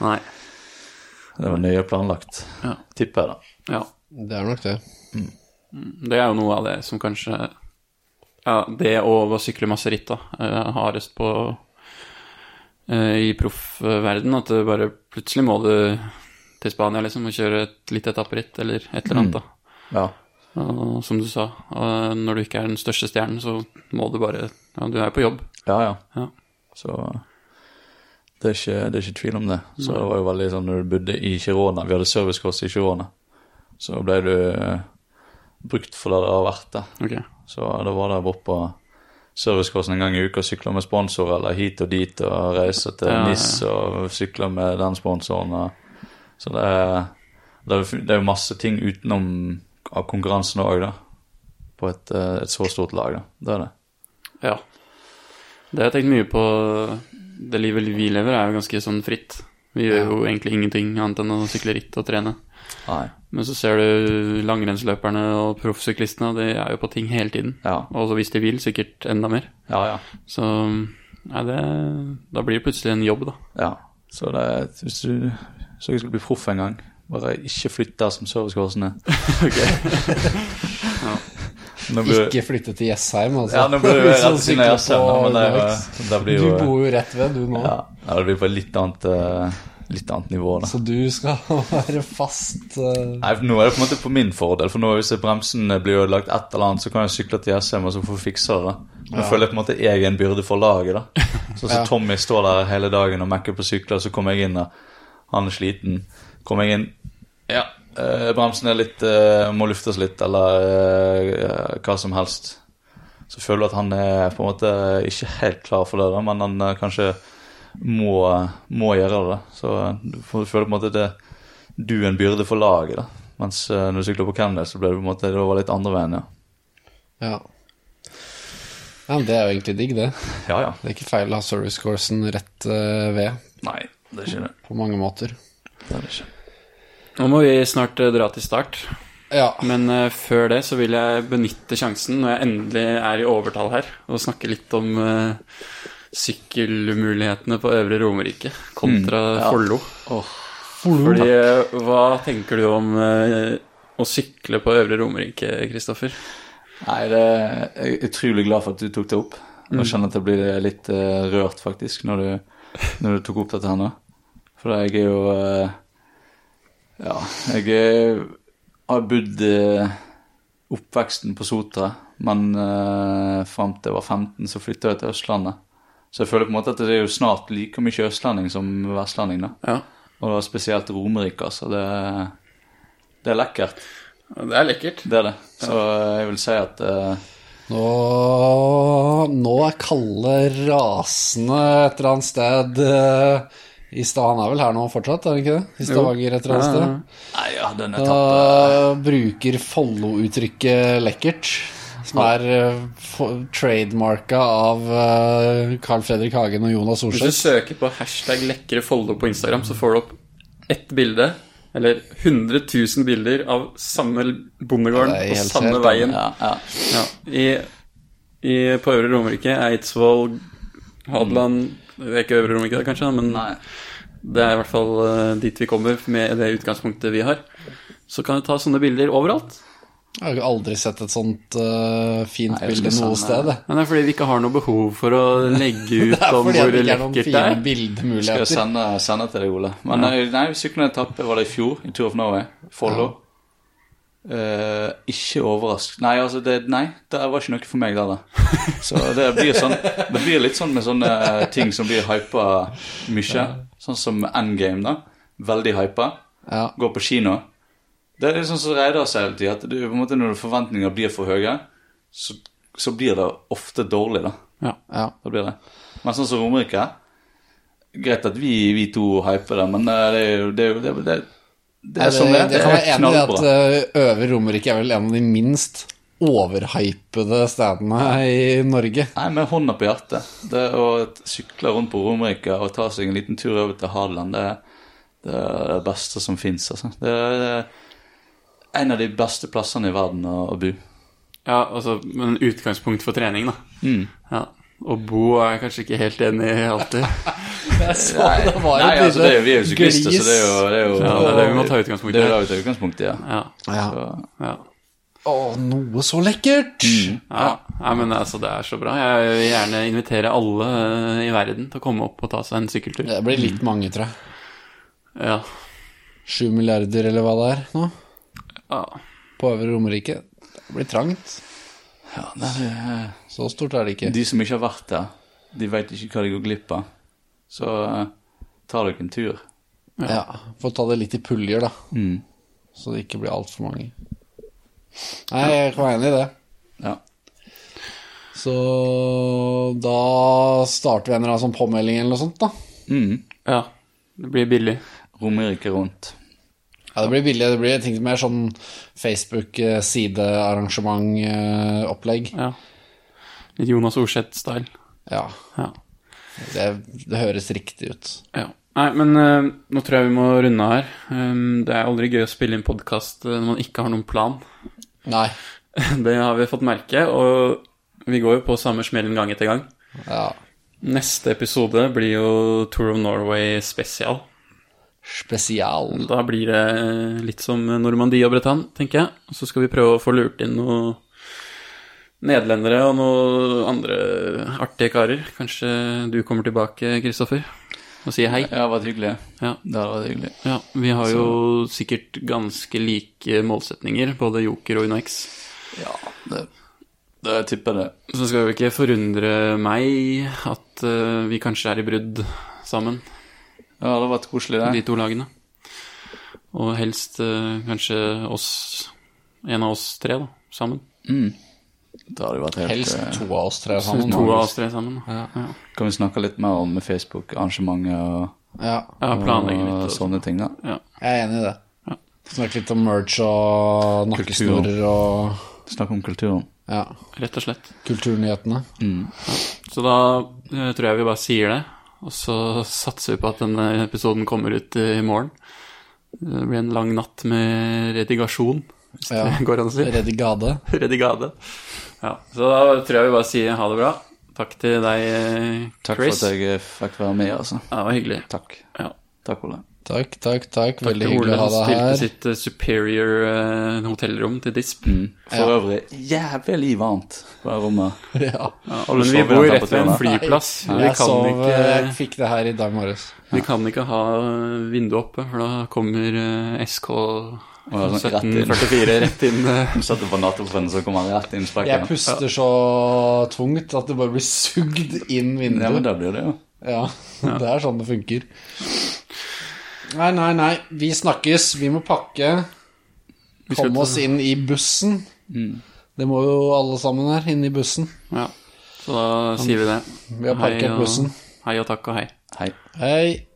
[SPEAKER 2] Nei.
[SPEAKER 3] Det var nøye planlagt,
[SPEAKER 2] Ja.
[SPEAKER 3] tipper jeg, da.
[SPEAKER 2] Ja.
[SPEAKER 4] Det er nok det.
[SPEAKER 2] Det er jo noe av det som kanskje Ja, det og å sykle masse ritt, da, er hardest på eh, i proffverden. At det bare plutselig må du til Spania liksom, og kjøre et litt etapperitt eller et eller annet. da.
[SPEAKER 3] Ja.
[SPEAKER 2] Og som du sa, og når du ikke er den største stjernen, så må du bare Ja, du er jo på jobb.
[SPEAKER 3] Ja, ja.
[SPEAKER 2] Ja.
[SPEAKER 3] Så det er, ikke, det er ikke tvil om det. Så det var jo veldig sånn når du bodde i Girona Vi hadde servicekurs i Girona. Så ble du eh, brukt for det det har vært, det.
[SPEAKER 2] Ok.
[SPEAKER 3] Så da var det bort på servicekursen en gang i uka og sykle med sponsorer eller hit og dit og reise til
[SPEAKER 2] Ja, ja.
[SPEAKER 3] NIS og sykle med den sponsoren. Og, så det er, det, er, jo- det er jo masse ting utenom av konkurransen òg, da. På et, eh, et så stort lag, da. Det er det.
[SPEAKER 2] Ja. Det har jeg tenkt mye på. Det livet vi lever, er jo ganske sånn fritt. Vi gjør jo egentlig ingenting annet enn å sykle ritt og trene.
[SPEAKER 3] Nei.
[SPEAKER 2] Men så ser du langrennsløperne og proffsyklistene, og de er jo på ting hele tiden.
[SPEAKER 3] Ja.
[SPEAKER 2] Og så hvis de vil, sikkert enda mer.
[SPEAKER 3] Ja, ja.
[SPEAKER 2] Så nei, det Da blir det plutselig en jobb, da.
[SPEAKER 3] Ja, så det er- hvis du så jeg skulle bli proff en gang, bare ikke flytt der som servicekursen er. [laughs] Nå blir-
[SPEAKER 4] Ikke flytte til Jessheim, altså.
[SPEAKER 3] Ja, nå
[SPEAKER 4] [laughs]
[SPEAKER 3] blir det jo
[SPEAKER 4] Hvis han
[SPEAKER 3] rett siden
[SPEAKER 4] sykler
[SPEAKER 3] jeg har søvn,
[SPEAKER 4] på
[SPEAKER 3] men det, er
[SPEAKER 4] Max.
[SPEAKER 3] jo- det blir
[SPEAKER 4] Du
[SPEAKER 3] jo
[SPEAKER 4] bor jo rett ved, du nå.
[SPEAKER 3] ja, ja, det blir på et litt annet, eh, litt annet nivå, da.
[SPEAKER 4] Så du skal [laughs] være fast eh,
[SPEAKER 3] Nei, for Nå er det på en måte på min fordel, for nå hvis bremsen eh, blir ødelagt et eller annet, så kan jeg sykle til Jessheim og så få fiksa det. Nå føler jeg på en måte jeg er en byrde for laget. da. Så, så
[SPEAKER 4] Ja.
[SPEAKER 3] Tommy står der hele dagen og mekker på sykler, så kommer jeg inn der. Han er sliten. Kommer jeg inn Ja, eh, bremsen er litt eh, Må luftes litt, eller eh, hva som helst. Så føler du at han er på en måte ikke helt klar for det, da, men han eh, kanskje må, eh, må gjøre det. Så eh, du får- føler på en måte det du er en byrde for laget, da. Mens eh, når du sykler på Canada, så ble det på en måte det var litt andre veien, ja.
[SPEAKER 4] Ja. ja, men det er jo egentlig digg, det.
[SPEAKER 3] Ja, ja.
[SPEAKER 4] Det er ikke feil å ha servicecoursen rett eh, ved,
[SPEAKER 3] Nei, det er ikke det.
[SPEAKER 4] på mange måter.
[SPEAKER 3] det, er det ikke.
[SPEAKER 2] Nå må vi snart eh, dra til start.
[SPEAKER 4] Ja.
[SPEAKER 2] Men eh, før det så vil jeg benytte sjansen, når jeg endelig er i overtall her, og snakke litt om eh, sykkelmulighetene på Øvre Romerike kontra Follo.
[SPEAKER 3] Mm,
[SPEAKER 2] Fordi eh, hva tenker du om eh, å sykle på Øvre Romerike, Kristoffer?
[SPEAKER 3] Nei, det jeg er utrolig glad for at du tok det opp. Jeg kjenner at jeg blir litt eh, rørt, faktisk, når du, når du tok opp dette her nå. For jeg er jo eh, Ja, jeg er, har bodd eh, oppveksten på Sotra, men uh, fram til jeg var 15, så flytta jeg til Østlandet. Så jeg føler på en måte at det er jo snart like mye østlending som vestlending, da.
[SPEAKER 2] Ja,
[SPEAKER 3] Og da spesielt Romerike, altså. Det, det er lekkert.
[SPEAKER 2] det er lekkert.
[SPEAKER 3] Det er det. Så jeg vil si at eh,
[SPEAKER 4] Nå, nå er Kalle rasende et eller annet sted eh, i stad. Han er vel her nå fortsatt, er han ikke det? I Stavanger et eller annet
[SPEAKER 2] Ja, ja.
[SPEAKER 4] sted.
[SPEAKER 3] Nei, ja, den
[SPEAKER 4] Da
[SPEAKER 3] etappen
[SPEAKER 4] bruker Follo-uttrykket 'lekkert', som er eh, fo- trademarka av eh, Carl Fredrik Hagen og Jonas
[SPEAKER 2] Hvis du
[SPEAKER 4] Solskjær.
[SPEAKER 2] søker på hashtag 'lekre Follo' på Instagram, så får du opp ett bilde. Eller 100 000 bilder av samme bondegården
[SPEAKER 4] Ja, det er
[SPEAKER 2] og
[SPEAKER 4] helt
[SPEAKER 2] samme
[SPEAKER 4] helt
[SPEAKER 2] veien.
[SPEAKER 3] ja, ja.
[SPEAKER 2] Ja, i, i, på Øvre Romerike, Eidsvoll, Hadeland Det er ikke Øvre Romerike da, kanskje, da, men
[SPEAKER 3] Nei.
[SPEAKER 2] det er i hvert fall eh, dit vi kommer med det utgangspunktet vi har. Så kan du ta sånne bilder overalt.
[SPEAKER 4] Jeg har jo aldri sett et sånt eh, fint
[SPEAKER 3] Nei, jeg
[SPEAKER 4] bilde
[SPEAKER 3] husker
[SPEAKER 4] noe
[SPEAKER 3] sånn,
[SPEAKER 4] sted.
[SPEAKER 3] eh,
[SPEAKER 4] jeg.
[SPEAKER 2] Men det er fordi vi ikke har noe behov for å legge
[SPEAKER 4] [laughs] Det
[SPEAKER 2] ut
[SPEAKER 4] er
[SPEAKER 2] om hvor
[SPEAKER 4] fordi at det ikke er noen
[SPEAKER 2] lekkert det er.
[SPEAKER 4] fine
[SPEAKER 3] Skal jeg
[SPEAKER 4] bildemuligheter.
[SPEAKER 3] sende, sende til deg, Ole. Men nei, nei syklende etappe var det i fjor, i Tour of Norway. Follo. Eh, ikke overrask Nei, altså, det, nei, det var ikke noe for meg der, da. Så det blir, sånn, det blir litt sånn med sånne ting som blir hypa mye. Sånn som Endgame, da. Veldig hypa.
[SPEAKER 4] Ja.
[SPEAKER 3] gå på kino. Det er litt sånn som Reidar sier hele tiden, at du, på en måte når forventninger blir for høye, så, så blir det ofte dårlig, da.
[SPEAKER 4] Ja.
[SPEAKER 3] da blir det. Men sånn som Romerike Greit at vi, vi to hyper det, men eh, det er jo det, er jo- det, er- det, er- det
[SPEAKER 4] Nei,
[SPEAKER 3] er sånn det er.
[SPEAKER 4] Eh, det
[SPEAKER 3] Det
[SPEAKER 4] kan
[SPEAKER 3] er
[SPEAKER 4] være enig i at
[SPEAKER 3] knallbra.
[SPEAKER 4] eh, Øvre Romerike er vel en av de minst overhypede stedene i Norge.
[SPEAKER 3] Nei, med hånda på hjertet. Det å sykle rundt på Romerike og ta seg en liten tur over til Hadeland, det, er- det er det beste som fins, altså. Det er, det er en av de beste plassene i verden å, å bo.
[SPEAKER 2] Ja, altså, men utgangspunkt for trening, da. Ja. Og Bo er kanskje ikke helt enig i alltid.
[SPEAKER 4] Jeg så det var
[SPEAKER 3] Nei,
[SPEAKER 4] et
[SPEAKER 3] altså, det er,
[SPEAKER 4] lite
[SPEAKER 3] jo- vi er jo syklister, så det er jo, det er jo
[SPEAKER 2] Ja, det er det vi må ta utgangspunkt i.
[SPEAKER 3] Det er det vi tar utgangspunkt i, ja.
[SPEAKER 2] Ja,
[SPEAKER 4] ja.
[SPEAKER 3] Så,
[SPEAKER 2] ja.
[SPEAKER 4] Å, noe så lekkert!
[SPEAKER 3] Mm.
[SPEAKER 2] Ja, nei, men altså, det er så bra. Jeg vil gjerne invitere alle
[SPEAKER 3] Mm.
[SPEAKER 2] eh, i verden til å komme opp og ta seg en sykkeltur.
[SPEAKER 4] Det blir litt mange, tror jeg.
[SPEAKER 2] Ja.
[SPEAKER 4] Sju milliarder, eller hva det er nå,
[SPEAKER 2] Ja.
[SPEAKER 4] på Øvre Romerike. Det blir trangt.
[SPEAKER 3] Ja, nei, det er...
[SPEAKER 4] Så stort er det ikke.
[SPEAKER 3] De som ikke har vært der, de veit ikke hva de går glipp av. Så eh, tar dere en tur.
[SPEAKER 4] Ja, Får ta det litt i puljer, da.
[SPEAKER 3] Mm.
[SPEAKER 4] Så det ikke blir altfor mange. Nei, jeg kan være enig i det.
[SPEAKER 3] Ja.
[SPEAKER 4] Så da starter vi en eller annen sånn påmelding eller noe sånt, da.
[SPEAKER 3] Mm.
[SPEAKER 2] ja. Det blir billig.
[SPEAKER 3] Romerike rundt.
[SPEAKER 4] Ja, det blir billig. Det blir jeg tenkte mer sånn Facebook-sidearrangement-opplegg.
[SPEAKER 2] Ja. Litt Jonas Orseth-style.
[SPEAKER 4] Ja,
[SPEAKER 2] Ja.
[SPEAKER 4] det, det høres riktig ut.
[SPEAKER 2] Ja. Nei, men eh, nå tror jeg vi må runde av her. Ehm, det er aldri gøy å spille inn podkast når man ikke har noen plan. [laughs]
[SPEAKER 4] Nei.
[SPEAKER 2] Det har vi fått merke, og vi går jo på samme smellen gang etter gang.
[SPEAKER 4] Ja.
[SPEAKER 2] Neste episode blir jo Tour of Norway spesial.
[SPEAKER 4] Spesial.
[SPEAKER 2] Da blir det eh, litt som Normandie og Bretagne, tenker jeg. Og så skal vi prøve å få lurt inn noen nederlendere og noen andre artige karer. Kanskje du kommer tilbake, Kristoffer, og sier hei.
[SPEAKER 3] Det har vært hyggelig.
[SPEAKER 2] Ja.
[SPEAKER 3] Det hadde vært hyggelig.
[SPEAKER 2] Ja, vi har jo sikkert ganske like målsetninger, både Joker og UnoX.
[SPEAKER 3] Ja, det, det jeg tipper det.
[SPEAKER 2] Så skal jo ikke forundre meg at eh, vi kanskje er i brudd sammen,
[SPEAKER 3] Ja, det hadde vært koselig, det.
[SPEAKER 2] de to lagene. Og helst eh, kanskje oss, en av oss tre, da, sammen.
[SPEAKER 3] Det hadde jo vært helt
[SPEAKER 4] Helst
[SPEAKER 3] eh,
[SPEAKER 4] to av oss tre
[SPEAKER 2] Så
[SPEAKER 4] sammen.
[SPEAKER 2] to av oss tre sammen. da.
[SPEAKER 3] Kan vi snakke litt mer om Facebook-arrangementet og,
[SPEAKER 4] Ja,
[SPEAKER 2] Ja, planlegge
[SPEAKER 3] og
[SPEAKER 2] litt. Og sånn.
[SPEAKER 3] sånne ting, da?
[SPEAKER 4] jeg er enig i det. Snakke litt om merch og nakkesnorer og
[SPEAKER 3] Snakke om kulturen.
[SPEAKER 4] ja,
[SPEAKER 2] Rett og slett.
[SPEAKER 4] kulturnyhetene.
[SPEAKER 2] Så da eh, tror jeg vi bare sier det, og så satser vi på at denne episoden kommer ut eh, i morgen. Det blir en lang natt med redigasjon, hvis
[SPEAKER 4] Ja.
[SPEAKER 2] det [laughs] går an å si.
[SPEAKER 4] Redigade.
[SPEAKER 2] Redigade. Ja, så da tror jeg vi bare sier ha det bra. Takk til deg, eh,
[SPEAKER 3] Takk
[SPEAKER 2] Chris.
[SPEAKER 3] for at jeg eh, fikk være med, altså.
[SPEAKER 2] Ja, det var hyggelig.
[SPEAKER 3] Takk.
[SPEAKER 2] Ja.
[SPEAKER 3] Takk, Ole.
[SPEAKER 4] Takk, takk, takk.
[SPEAKER 2] Takk
[SPEAKER 4] Veldig
[SPEAKER 2] til
[SPEAKER 4] hyggelig
[SPEAKER 2] Ole
[SPEAKER 4] å ha
[SPEAKER 2] som
[SPEAKER 4] deg
[SPEAKER 2] stilte
[SPEAKER 4] her.
[SPEAKER 2] sitt eh, superior eh, hotellrom til disp.
[SPEAKER 3] For øvrig, jævlig varmt på rommet.
[SPEAKER 4] [laughs] Ja.
[SPEAKER 2] Ja, men
[SPEAKER 3] sov
[SPEAKER 2] vi
[SPEAKER 3] i
[SPEAKER 2] bor
[SPEAKER 3] den
[SPEAKER 2] rett ved en
[SPEAKER 3] temperaturen, da.
[SPEAKER 2] flyplass. Vi
[SPEAKER 4] Jeg
[SPEAKER 2] kan,
[SPEAKER 4] sov Jeg
[SPEAKER 2] ikke,
[SPEAKER 4] fikk det her i dag morges.
[SPEAKER 2] vi kan ikke ha eh, vinduet oppe, for da kommer eh, SK
[SPEAKER 3] Ja, sånn rett inn.
[SPEAKER 2] 1744 rett inn. eh.
[SPEAKER 3] Hun [laughs] satte på nattbordet, så kom han rett inn i
[SPEAKER 4] Jeg
[SPEAKER 3] sprekken.
[SPEAKER 4] puster så tungt at det bare blir sugd inn
[SPEAKER 3] Ja, men
[SPEAKER 4] vinduet.
[SPEAKER 3] da blir det jo.
[SPEAKER 4] Ja, [laughs] det er sånn det funker. Nei, nei, nei. Vi snakkes. Vi må pakke.
[SPEAKER 2] Vi skal
[SPEAKER 4] Komme
[SPEAKER 2] ta-
[SPEAKER 4] oss inn i bussen.
[SPEAKER 2] Mm.
[SPEAKER 4] Det må jo alle sammen her, inn i bussen.
[SPEAKER 2] Ja. Så da sier vi det.
[SPEAKER 4] Vi har
[SPEAKER 2] Hei
[SPEAKER 4] parkert
[SPEAKER 2] og-
[SPEAKER 4] bussen.
[SPEAKER 2] Hei og takk og hei.
[SPEAKER 3] Hei.
[SPEAKER 4] Hei.